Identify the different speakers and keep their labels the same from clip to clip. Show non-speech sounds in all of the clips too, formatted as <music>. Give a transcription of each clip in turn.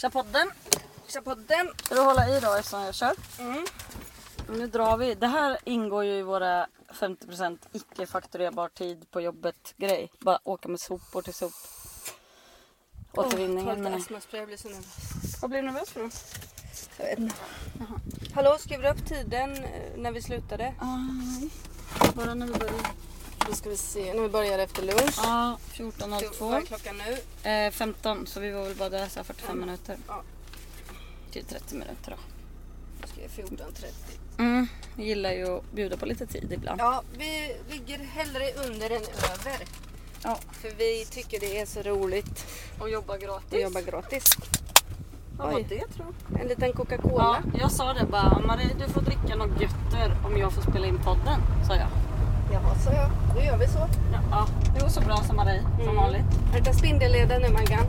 Speaker 1: Kör podden.
Speaker 2: Kör på den.
Speaker 1: Ska du hålla i då eftersom jag kör?
Speaker 2: Mm.
Speaker 1: Nu drar vi. Det här ingår ju i våra 50% icke fakturerbar tid på jobbet grej. Bara åka med sopor till sop. Återvinningen.
Speaker 2: Oh,
Speaker 1: menar jag.
Speaker 2: astmaspray, jag blir så nervös.
Speaker 1: Vad blir du nervös för då?
Speaker 2: Jag vet inte. Hallå, skriver du upp tiden eh, när vi slutade?
Speaker 1: Nej. Bara när vi börjar.
Speaker 2: Då ska vi se, när vi börjar efter lunch.
Speaker 1: Ja,
Speaker 2: Vad är
Speaker 1: 14.02.
Speaker 2: klockan nu?
Speaker 1: Eh, 15 så vi var väl bara där så här 45
Speaker 2: Mm.
Speaker 1: minuter.
Speaker 2: Ja.
Speaker 1: Till 30 minuter då.
Speaker 2: Då ska jag 14.30.
Speaker 1: Mm. Jag gillar ju att bjuda på lite tid ibland.
Speaker 2: Ja, vi ligger hellre under än över.
Speaker 1: Ja.
Speaker 2: För vi tycker det är så roligt
Speaker 1: Och jobba gratis.
Speaker 2: att jobba gratis.
Speaker 1: Vad var
Speaker 2: Oj.
Speaker 1: det tror jag?
Speaker 2: En liten
Speaker 1: Ja,
Speaker 2: Coca-Cola.
Speaker 1: jag sa det bara. Marie du får dricka något götter om jag får spela in podden. Sa jag.
Speaker 2: Jaha, så ja. Då gör vi så.
Speaker 1: Ja, ja. det går så bra som Marie. Som
Speaker 2: Mm.
Speaker 1: vanligt.
Speaker 2: Är det spindelleden nu, Maggan?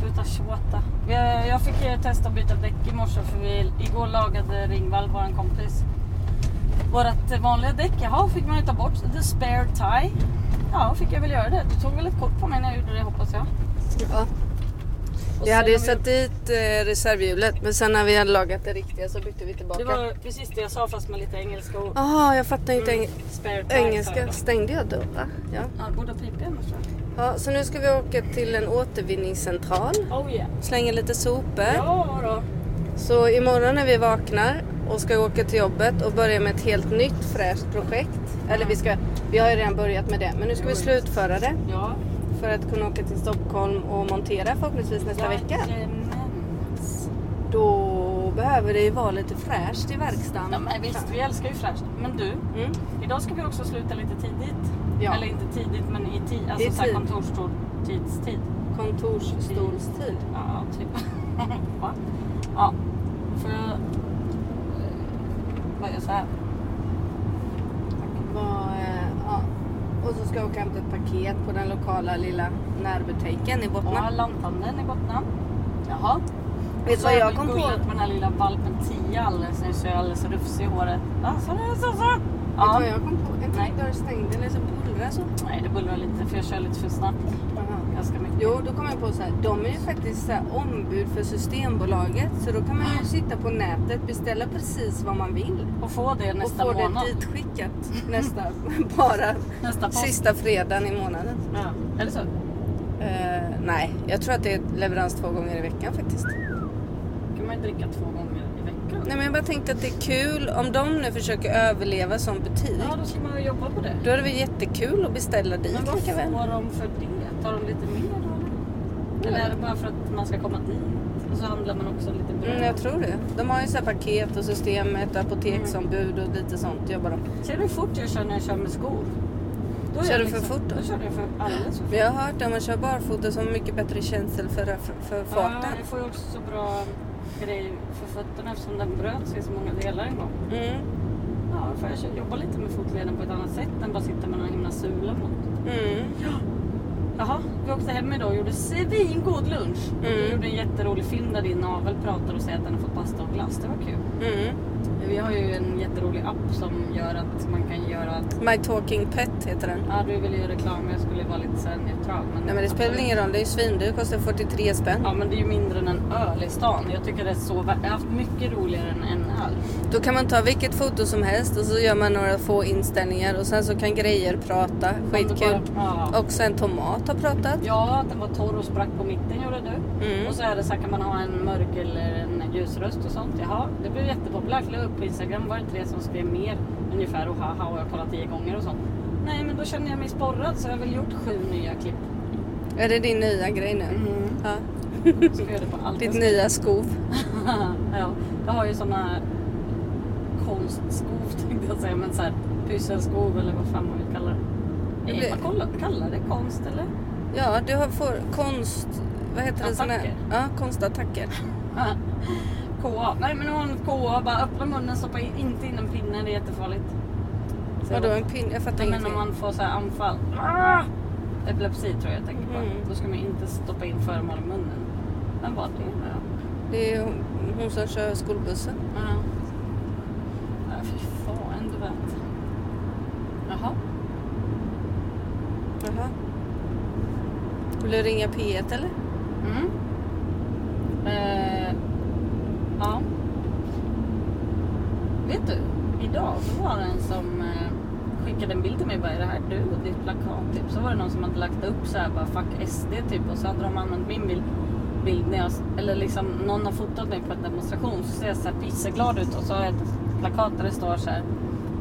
Speaker 1: Sluta tjåta. Jag, jag fick ju testa att byta däck i morse för vi, igår lagade Ringvall, vår kompis, vårat eh, vanliga däck. Jaha, fick man ju ta bort. The spare tie. Ja, fick jag väl göra det. Du tog väl ett kort på mig när jag gjorde det hoppas jag.
Speaker 2: Ja.
Speaker 1: Och
Speaker 2: Vi hade ju
Speaker 1: sen
Speaker 2: satt dit eh, reservhjulet men sen när vi hade lagat det riktiga så bytte vi
Speaker 1: Det
Speaker 2: tillbaka.
Speaker 1: var precis det jag sa fast med lite engelska ord.
Speaker 2: Jaha, jag fattar inte eng-
Speaker 1: Spare tie. sa
Speaker 2: engelska.
Speaker 1: jag.
Speaker 2: Stängde jag dörren? Ja.
Speaker 1: Ja, borde ha pipit i morse.
Speaker 2: ja. Så nu ska vi åka till en återvinningscentral.
Speaker 1: Oh yeah.
Speaker 2: Slänga lite sopor.
Speaker 1: Ja då.
Speaker 2: Så imorgon när vi vaknar och ska åka till jobbet och börja med ett helt nytt fräscht projekt. Eller vi, ska, vi har ju redan börjat med det men nu ska vi
Speaker 1: Mm.
Speaker 2: slutföra det
Speaker 1: Ja.
Speaker 2: för att kunna åka till Stockholm och montera förhoppningsvis nästa vecka.
Speaker 1: Jajamens.
Speaker 2: Då behöver det ju vara lite fräscht i
Speaker 1: Ja,
Speaker 2: verkstaden.
Speaker 1: men visst, vi älskar ju fräscht. Men du,
Speaker 2: Mm.
Speaker 1: Idag ska vi också sluta lite tidigt.
Speaker 2: Ja.
Speaker 1: Eller inte tidigt men i tid. Alltså
Speaker 2: I
Speaker 1: så här
Speaker 2: tid.
Speaker 1: kontorstid. Tidstid.
Speaker 2: Kontorsstolstid.
Speaker 1: Ja, typ. <laughs> Va? Ja. För jag... eh, Vad gör så här?
Speaker 2: Var, eh, ja. Och så ska jag åka och hämta ett paket på den lokala lilla närbutiken i
Speaker 1: Ja,
Speaker 2: Bottna.
Speaker 1: lanthandeln i Bottna. Jaha.
Speaker 2: Vet du vad jag kom på?
Speaker 1: gullat med den här lilla valpen Tia alldeles nyss. Jag är alldeles rufsig i håret. Alltså, det är så, så.
Speaker 2: Vet du
Speaker 1: Ja.
Speaker 2: vad jag kom på? En
Speaker 1: Nej.
Speaker 2: till dörr stängd eller så bullrar så.
Speaker 1: Nej, det bullrar lite för jag kör lite för snabbt. Ganska mycket.
Speaker 2: Jo, då kom jag på så här. De är ju faktiskt så här, ombud för Systembolaget. Så då kan man ju sitta på nätet, beställa precis vad man vill.
Speaker 1: Och få det nästa
Speaker 2: och få
Speaker 1: månad.
Speaker 2: det ditskickat nästa, <laughs> bara
Speaker 1: Nästa post.
Speaker 2: sista fredagen i månaden.
Speaker 1: Ja. Eller så.
Speaker 2: Eh, nej, jag tror att det är leverans två gånger i veckan faktiskt.
Speaker 1: kan man ju dricka två gånger i veckan.
Speaker 2: Nej men jag bara tänkte att det är kul om de nu försöker överleva som butik.
Speaker 1: Ja, då ska man ju jobba på det.
Speaker 2: Då är det väl jättekul att beställa dit
Speaker 1: Men vad
Speaker 2: lika väl.
Speaker 1: får de för det? Tar de lite mer då eller? Eller är det bara för att man ska komma dit? Och så handlar man också lite bröd.
Speaker 2: Mm, jag tror det. De har ju så här paket och systemet och apoteksombud och lite sånt jobbar de.
Speaker 1: Ser du hur fort jag kör när jag kör med skor? Då är
Speaker 2: Kör
Speaker 1: jag liksom-
Speaker 2: du för fort då?
Speaker 1: Då kör jag för alldeles för fort.
Speaker 2: Men jag har hört att man kör barfota så har man mycket bättre känsel för, för, för
Speaker 1: Ja,
Speaker 2: farten.
Speaker 1: jag får ju också så bra grej för fötterna eftersom den bröt sig i så många delar en gång.
Speaker 2: Mm,
Speaker 1: Ja, då får jag kö- jobba lite med fotleden på ett annat sätt än bara sitta med någon himla sula mot.
Speaker 2: mm.
Speaker 1: Jaha, vi åkte hem idag och gjorde svingod lunch. Du
Speaker 2: Mm.
Speaker 1: gjorde en jätterolig film där din navel pratar och säger att den har fått pasta och glass. Det var kul.
Speaker 2: Mm.
Speaker 1: Vi har ju en jätterolig app som gör att man kan göra att...
Speaker 2: My talking pet heter den.
Speaker 1: Ja, du ville ju reklam, jag skulle vara lite så här neutral. Men
Speaker 2: Nej men det spelar väl ingen roll, det är ju svindyrt, kostar 43 spänn.
Speaker 1: Ja, men det är ju mindre än en öl i stan. Jag tycker det är så... värt- Jag har haft mycket roligare än en öl.
Speaker 2: Då kan man ta vilket foto som helst och så gör man några få inställningar och sen så kan grejer prata. Skitkul.
Speaker 1: Om du bara- Ja.
Speaker 2: Också en tomat har pratat.
Speaker 1: ja, att den var torr och sprack på mitten gjorde du.
Speaker 2: Mm.
Speaker 1: Och så är det så här, kan man ha en mörk eller en ljusröst och sånt. Jaha, det blev jättepopulärt. La upp på Instagram var det tre som skrev mer ungefär och haha och jag har kollat tio gånger och sånt. Nej, men då känner jag mig sporrad så jag har väl gjort sju nya klipp.
Speaker 2: Är det din nya grej nu? Ja.
Speaker 1: Så vi gör det på allt.
Speaker 2: Mm. Ditt nya skov.
Speaker 1: <laughs> ja, jag har ju såna konstskov tänkte jag säga, men så här pysselskov eller vad fan man vill kalla det.
Speaker 2: Det
Speaker 1: Nej,
Speaker 2: blir-
Speaker 1: man kollar, kallar det konst eller?
Speaker 2: Ja, du har får konst... Vad heter det? sån här-
Speaker 1: Attacker.
Speaker 2: Ja, konstattacker.
Speaker 1: KA. Nej men hon KA, bara öppna munnen, stoppa in, inte in en pinne, det är jättefarligt. Så
Speaker 2: Vadå
Speaker 1: jag-
Speaker 2: en pinne? Jag fattar
Speaker 1: Nej, men om
Speaker 2: ingenting.
Speaker 1: man får så här anfall. Ah! Epilepsi tror jag jag tänker på.
Speaker 2: Mm.
Speaker 1: Då ska man inte stoppa in föremål i munnen. Men vad det är.
Speaker 2: Det är ju hon- hon som kör skolbussen.
Speaker 1: Ja. Ja, Fy fan, du vet. Jaha.
Speaker 2: Jaha. Vill du ringa P1 eller?
Speaker 1: Mm. Eh, idag så var det en som eh, skickade en bild till mig och bara, är det här du och ditt plakat? Typ. Så var det någon som hade lagt upp så här bara fuck SD typ och så hade de använt min bild, bild när jag, eller liksom någon har fotat mig på en demonstration så ser jag så här pisseglad ut och så har jag ett plakat där det står så här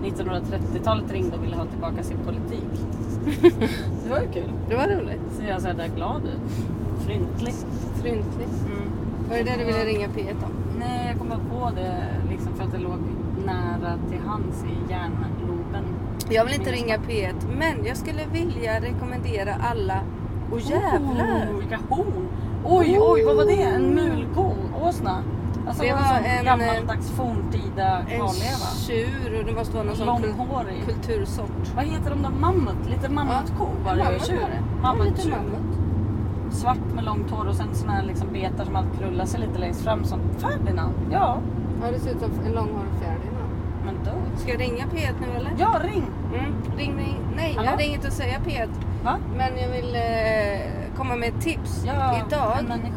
Speaker 1: 1930-talet ringde och ville ha tillbaka sin politik. <laughs> det var ju kul.
Speaker 2: Det var roligt.
Speaker 1: Ser jag så här där glad ut. Fryntlig.
Speaker 2: Fryntligt.
Speaker 1: Mm.
Speaker 2: Var det det du ville ringa P1 om?
Speaker 1: Nej, jag kom bara på det liksom för att det låg nära till hands i hjärnloben.
Speaker 2: Jag vill inte ringa P1, men jag skulle vilja rekommendera alla... Åh jävlar! Oh.
Speaker 1: Oh, vilka horn! Oj, oj, vad var det? En mulko? Åsna? Alltså
Speaker 2: Det
Speaker 1: det var
Speaker 2: var
Speaker 1: en
Speaker 2: en, eh,
Speaker 1: sån gammaldags forntida
Speaker 2: En
Speaker 1: kvarleva.
Speaker 2: tjur och det måste vara någon sån kul-
Speaker 1: Långhårig.
Speaker 2: kultursort.
Speaker 1: Vad heter de då? Mammut? Lite mammutko var det ju.
Speaker 2: Mammut var
Speaker 1: Tjur.
Speaker 2: det. Ja, lite
Speaker 1: Mammuttjur.
Speaker 2: mammut.
Speaker 1: Svart med långt hår och sen såna här liksom betar som alltid krullar sig lite längst fram som Ferdinand. Ja,
Speaker 2: Ja, det ser ut som en långhårig fjäril. ja.
Speaker 1: men då.
Speaker 2: Ska jag ringa P1 nu eller?
Speaker 1: Ja, ring!
Speaker 2: Mm. Ring, ring. Nej, jag
Speaker 1: Hallå?
Speaker 2: hade inget att säga P1.
Speaker 1: Va?
Speaker 2: Men jag vill eh, komma med ett tips.
Speaker 1: Ja,
Speaker 2: Idag,
Speaker 1: en människa.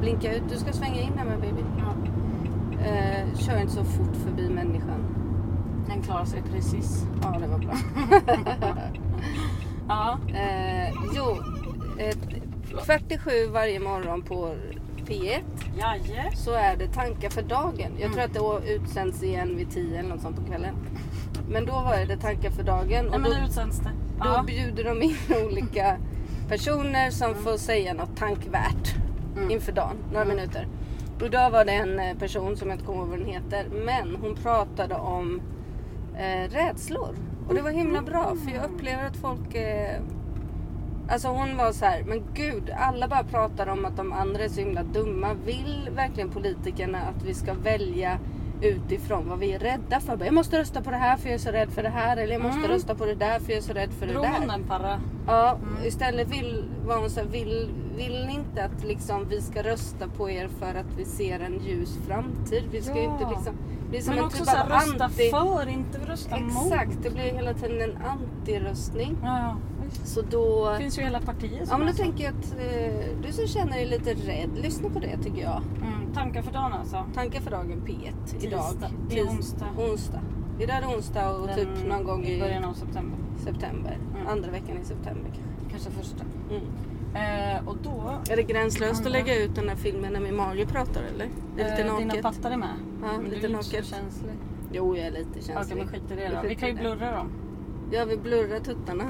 Speaker 2: blinka ut. Du ska svänga in där med baby.
Speaker 1: Ja.
Speaker 2: Eh, kör inte så fort förbi människan.
Speaker 1: Den klarar sig precis.
Speaker 2: Ja, det var bra.
Speaker 1: Ja.
Speaker 2: Eh, jo, eh, kvart i sju varje morgon på P1
Speaker 1: Jaje.
Speaker 2: så är det tankar för dagen. Jag
Speaker 1: Mm.
Speaker 2: tror att det å- utsänds igen vid 10 eller något sånt på kvällen. Men då var det tankar för dagen
Speaker 1: Nej
Speaker 2: och
Speaker 1: men
Speaker 2: då,
Speaker 1: nu utsänds det.
Speaker 2: då
Speaker 1: Ja.
Speaker 2: bjuder de in <laughs> olika personer som får säga något tankvärt
Speaker 1: Mm.
Speaker 2: inför dagen, några
Speaker 1: Mm.
Speaker 2: minuter. Och då var det en eh, person som jag inte kommer ihåg vad den heter, men hon pratade om eh, rädslor. Och det var himla bra för
Speaker 1: Mm.
Speaker 2: jag upplever att folk... Eh, alltså hon var så här, men gud, alla bara pratar om att de andra är så himla dumma. Vill verkligen politikerna att vi ska välja utifrån vad vi är rädda för? Bara, Jag måste rösta på det här för jag är så rädd för det här. Eller jag måste
Speaker 1: Mm.
Speaker 2: rösta på det där för jag är så rädd för det
Speaker 1: Drog
Speaker 2: där.
Speaker 1: hon den para?
Speaker 2: Ja, istället vill, var hon så här, vill, vill ni inte att liksom, vi ska rösta på er för att vi ser en ljus framtid? Vi ska ju
Speaker 1: Ja.
Speaker 2: inte liksom... Det är som
Speaker 1: Men
Speaker 2: en
Speaker 1: också
Speaker 2: typ
Speaker 1: såhär
Speaker 2: av
Speaker 1: rösta
Speaker 2: anti...
Speaker 1: för, inte rösta mot.
Speaker 2: Exakt, det blir hela tiden en antiröstning.
Speaker 1: Ja, ja. visst.
Speaker 2: Så då...
Speaker 1: Det finns ju hela partier
Speaker 2: Ja
Speaker 1: som
Speaker 2: men då
Speaker 1: är så.
Speaker 2: tänker jag att eh, du som känner dig lite rädd, lyssna på det tycker jag.
Speaker 1: Mm, tankar för dagen alltså.
Speaker 2: Tankar för dagen P1 idag.
Speaker 1: Tisdag. Det är
Speaker 2: Tis-
Speaker 1: onsdag.
Speaker 2: onsdag. Idag är det onsdag och
Speaker 1: Den-
Speaker 2: typ någon gång
Speaker 1: i
Speaker 2: i
Speaker 1: början av september.
Speaker 2: september.
Speaker 1: Mm.
Speaker 2: Andra veckan i september kanske.
Speaker 1: Kanske första.
Speaker 2: Mm.
Speaker 1: Eh, och då...
Speaker 2: Är det gränslöst
Speaker 1: Andra.
Speaker 2: att lägga ut den här filmen när min mage pratar eller? Det är lite
Speaker 1: eh, dina
Speaker 2: naket.
Speaker 1: pattar är med.
Speaker 2: Ja,
Speaker 1: men
Speaker 2: lite
Speaker 1: du är inte så
Speaker 2: naket.
Speaker 1: känslig.
Speaker 2: Jo, jag är lite
Speaker 1: Okej
Speaker 2: känslig.
Speaker 1: men skit i det då.
Speaker 2: skiter
Speaker 1: Vi kan ju
Speaker 2: i det.
Speaker 1: blurra dem.
Speaker 2: <laughs> Jag vill blurra tuttarna.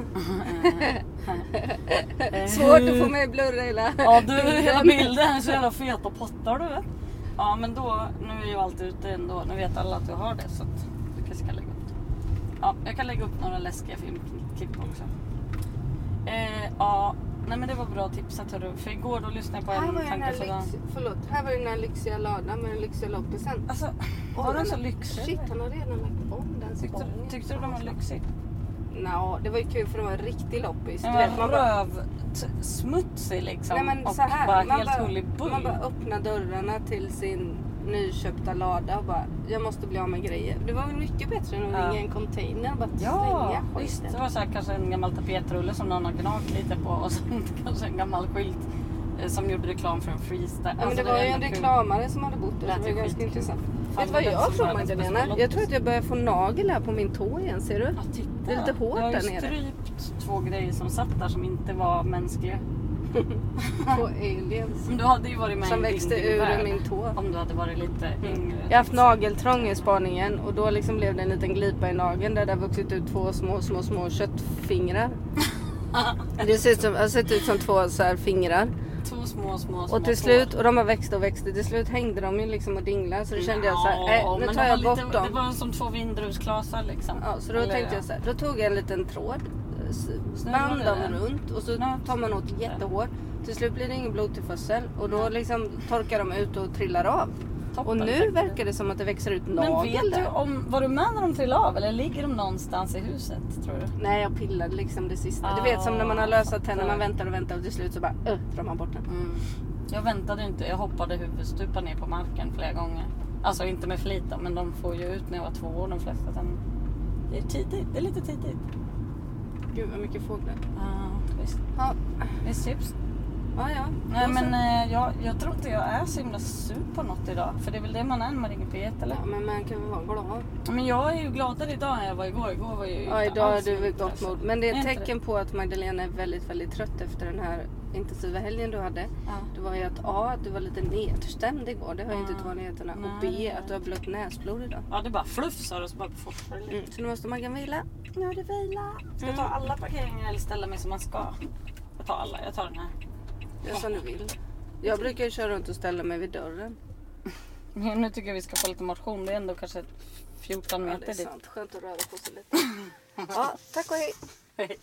Speaker 1: Eh,
Speaker 2: <laughs> Svårt att få mig att blurra hela
Speaker 1: Ja
Speaker 2: <laughs>
Speaker 1: du, hela bilden. Så jävla feta pattar du vet. Ja men då, nu är ju allt ute ändå. Nu vet alla att du har det så att du kanske kan lägga upp det. Ja, jag kan lägga upp några läskiga filmklipp också. Eh, ja, nej men det var bra tipsat hörru. För igår då lyssnade jag på
Speaker 2: Här
Speaker 1: en
Speaker 2: var, den
Speaker 1: tanke
Speaker 2: här
Speaker 1: för dagen.
Speaker 2: lyx... Förlåt. här var den här lyxiga ladan med den lyxiga loppisen.
Speaker 1: Alltså,
Speaker 2: Oj,
Speaker 1: var den så
Speaker 2: men-
Speaker 1: lyxig?
Speaker 2: Shit, han har redan lagt om den
Speaker 1: Tyckte,
Speaker 2: spången.
Speaker 1: tyckte du den var lyxig?
Speaker 2: Nå, det var ju kul för det var en riktig loppis.
Speaker 1: Den
Speaker 2: Du
Speaker 1: var
Speaker 2: vet, man bara-
Speaker 1: rövsmutsig liksom.
Speaker 2: Nej, men
Speaker 1: och
Speaker 2: så här.
Speaker 1: bara
Speaker 2: man,
Speaker 1: helt
Speaker 2: bara,
Speaker 1: hullibully.
Speaker 2: man bara öppnar dörrarna till sin nyköpta lada och bara, jag måste bli av med grejer. Det var väl mycket bättre än att
Speaker 1: Ja.
Speaker 2: ringa en container och bara
Speaker 1: Ja,
Speaker 2: slänga
Speaker 1: visst.
Speaker 2: skiten.
Speaker 1: Det var så här, kanske en gammal tapetrulle som någon har gnagt lite på och sen <laughs> kanske en gammal skylt eh, som gjorde reklam för en freestyle. Alltså,
Speaker 2: Ja, men det var ju en reklamare som hade bott där så
Speaker 1: Lät
Speaker 2: det var
Speaker 1: ju
Speaker 2: ganska
Speaker 1: skitkul.
Speaker 2: intressant.
Speaker 1: Fan,
Speaker 2: Vet du vad
Speaker 1: det lät
Speaker 2: jag
Speaker 1: som
Speaker 2: tror
Speaker 1: världens bästa
Speaker 2: Magdalena? Jag
Speaker 1: loppis.
Speaker 2: tror att jag börjar få nagel här på min tå igen, ser
Speaker 1: <laughs>
Speaker 2: du?
Speaker 1: Ja, titta.
Speaker 2: Det är lite hårt
Speaker 1: jag har ju
Speaker 2: där nere.
Speaker 1: strypt två grejer som satt där som inte var mänskliga.
Speaker 2: På aliens.
Speaker 1: Men du hade ju varit med
Speaker 2: Som
Speaker 1: i din-
Speaker 2: växte
Speaker 1: din
Speaker 2: ur
Speaker 1: värld
Speaker 2: min tå. Mm.
Speaker 1: Om du hade varit lite yngre.
Speaker 2: Jag har haft nageltrång i spaningen och då liksom blev det en liten glipa i nageln där det har vuxit ut två små, små,
Speaker 1: <laughs>
Speaker 2: små köttfingrar. Det ser ut som, har sett ut som två så här fingrar.
Speaker 1: Två små, små, små
Speaker 2: Och till slut, och de har växt och växt. Till slut hängde de ju liksom och dinglade så då kände jag så här,
Speaker 1: Ja,
Speaker 2: äh, nu
Speaker 1: men
Speaker 2: tar
Speaker 1: de
Speaker 2: jag
Speaker 1: var
Speaker 2: bort
Speaker 1: lite,
Speaker 2: dem.
Speaker 1: Det var som två vindruvsklasar liksom.
Speaker 2: Ja, så då
Speaker 1: Eller,
Speaker 2: tänkte
Speaker 1: ja.
Speaker 2: jag så här, då tog jag en liten tråd, s-
Speaker 1: Snurrade
Speaker 2: band dem
Speaker 1: den.
Speaker 2: runt och så
Speaker 1: Snurrade.
Speaker 2: tar man åt jättehårt. Till slut blir det ingen blodtillförsel och då liksom torkar de ut och trillar av.
Speaker 1: Toppen,
Speaker 2: och nu
Speaker 1: faktiskt.
Speaker 2: verkar det som att det växer ut
Speaker 1: Men
Speaker 2: nagel
Speaker 1: vet du
Speaker 2: där.
Speaker 1: om, var du med när de trillade av eller ligger de någonstans i huset tror du?
Speaker 2: Nej, jag pillade liksom det sista. du vet som när man har lösa
Speaker 1: Ah, fattar.
Speaker 2: tänder, man väntar och väntar och till slut så bara uh, drar man bort den.
Speaker 1: Jag väntade ju inte, jag hoppade huvudstupa ner på marken flera gånger. Alltså inte med flit då, men de får ju ut när jag var två år de flesta. Sen. Det är tidigt, det är lite tidigt.
Speaker 2: Gud vad mycket fåglar.
Speaker 1: Ja, visst.
Speaker 2: Ja,
Speaker 1: Visst tips.
Speaker 2: Ja, ja.
Speaker 1: Nej
Speaker 2: Då
Speaker 1: men
Speaker 2: så.
Speaker 1: eh, jag, jag tror inte jag är så himla sur på något idag. För det är väl det man är när man ringer P1 eller?
Speaker 2: Ja, men man kan väl vara glad.
Speaker 1: Men jag är ju gladare idag än jag var igår. Igår var jag ju
Speaker 2: Ja,
Speaker 1: inte
Speaker 2: idag är
Speaker 1: alls
Speaker 2: du väl
Speaker 1: lugnt,
Speaker 2: gott
Speaker 1: alltså.
Speaker 2: mod. Men det är ett
Speaker 1: Är inte
Speaker 2: tecken på att Magdalena är väldigt, väldigt trött efter den här intensiva helgen du hade.
Speaker 1: Ja.
Speaker 2: Det var ju att A, att du var lite nedstämd igår. Det hör ju inte till
Speaker 1: Mm.
Speaker 2: vanligheterna. Och
Speaker 1: Nej, det
Speaker 2: B,
Speaker 1: är
Speaker 2: att du har blött näsblod idag.
Speaker 1: Ja, det bara flufsar och så bara forsar det lite.
Speaker 2: Mm. Så nu måste Maggan vila.
Speaker 1: Nu är det vila. Ska jag ta alla parkeringar eller ställa mig som man ska? Jag tar alla. Jag tar den här.
Speaker 2: Gör som du vill. Jag brukar ju köra runt och ställa mig vid dörren.
Speaker 1: Men nu tycker jag vi ska få lite motion. Det är ändå kanske 14
Speaker 2: Ja,
Speaker 1: meter
Speaker 2: det är
Speaker 1: <laughs> dit. <laughs>
Speaker 2: sant. Skönt att röra på sig lite. Ja, tack och hej.
Speaker 1: Hej.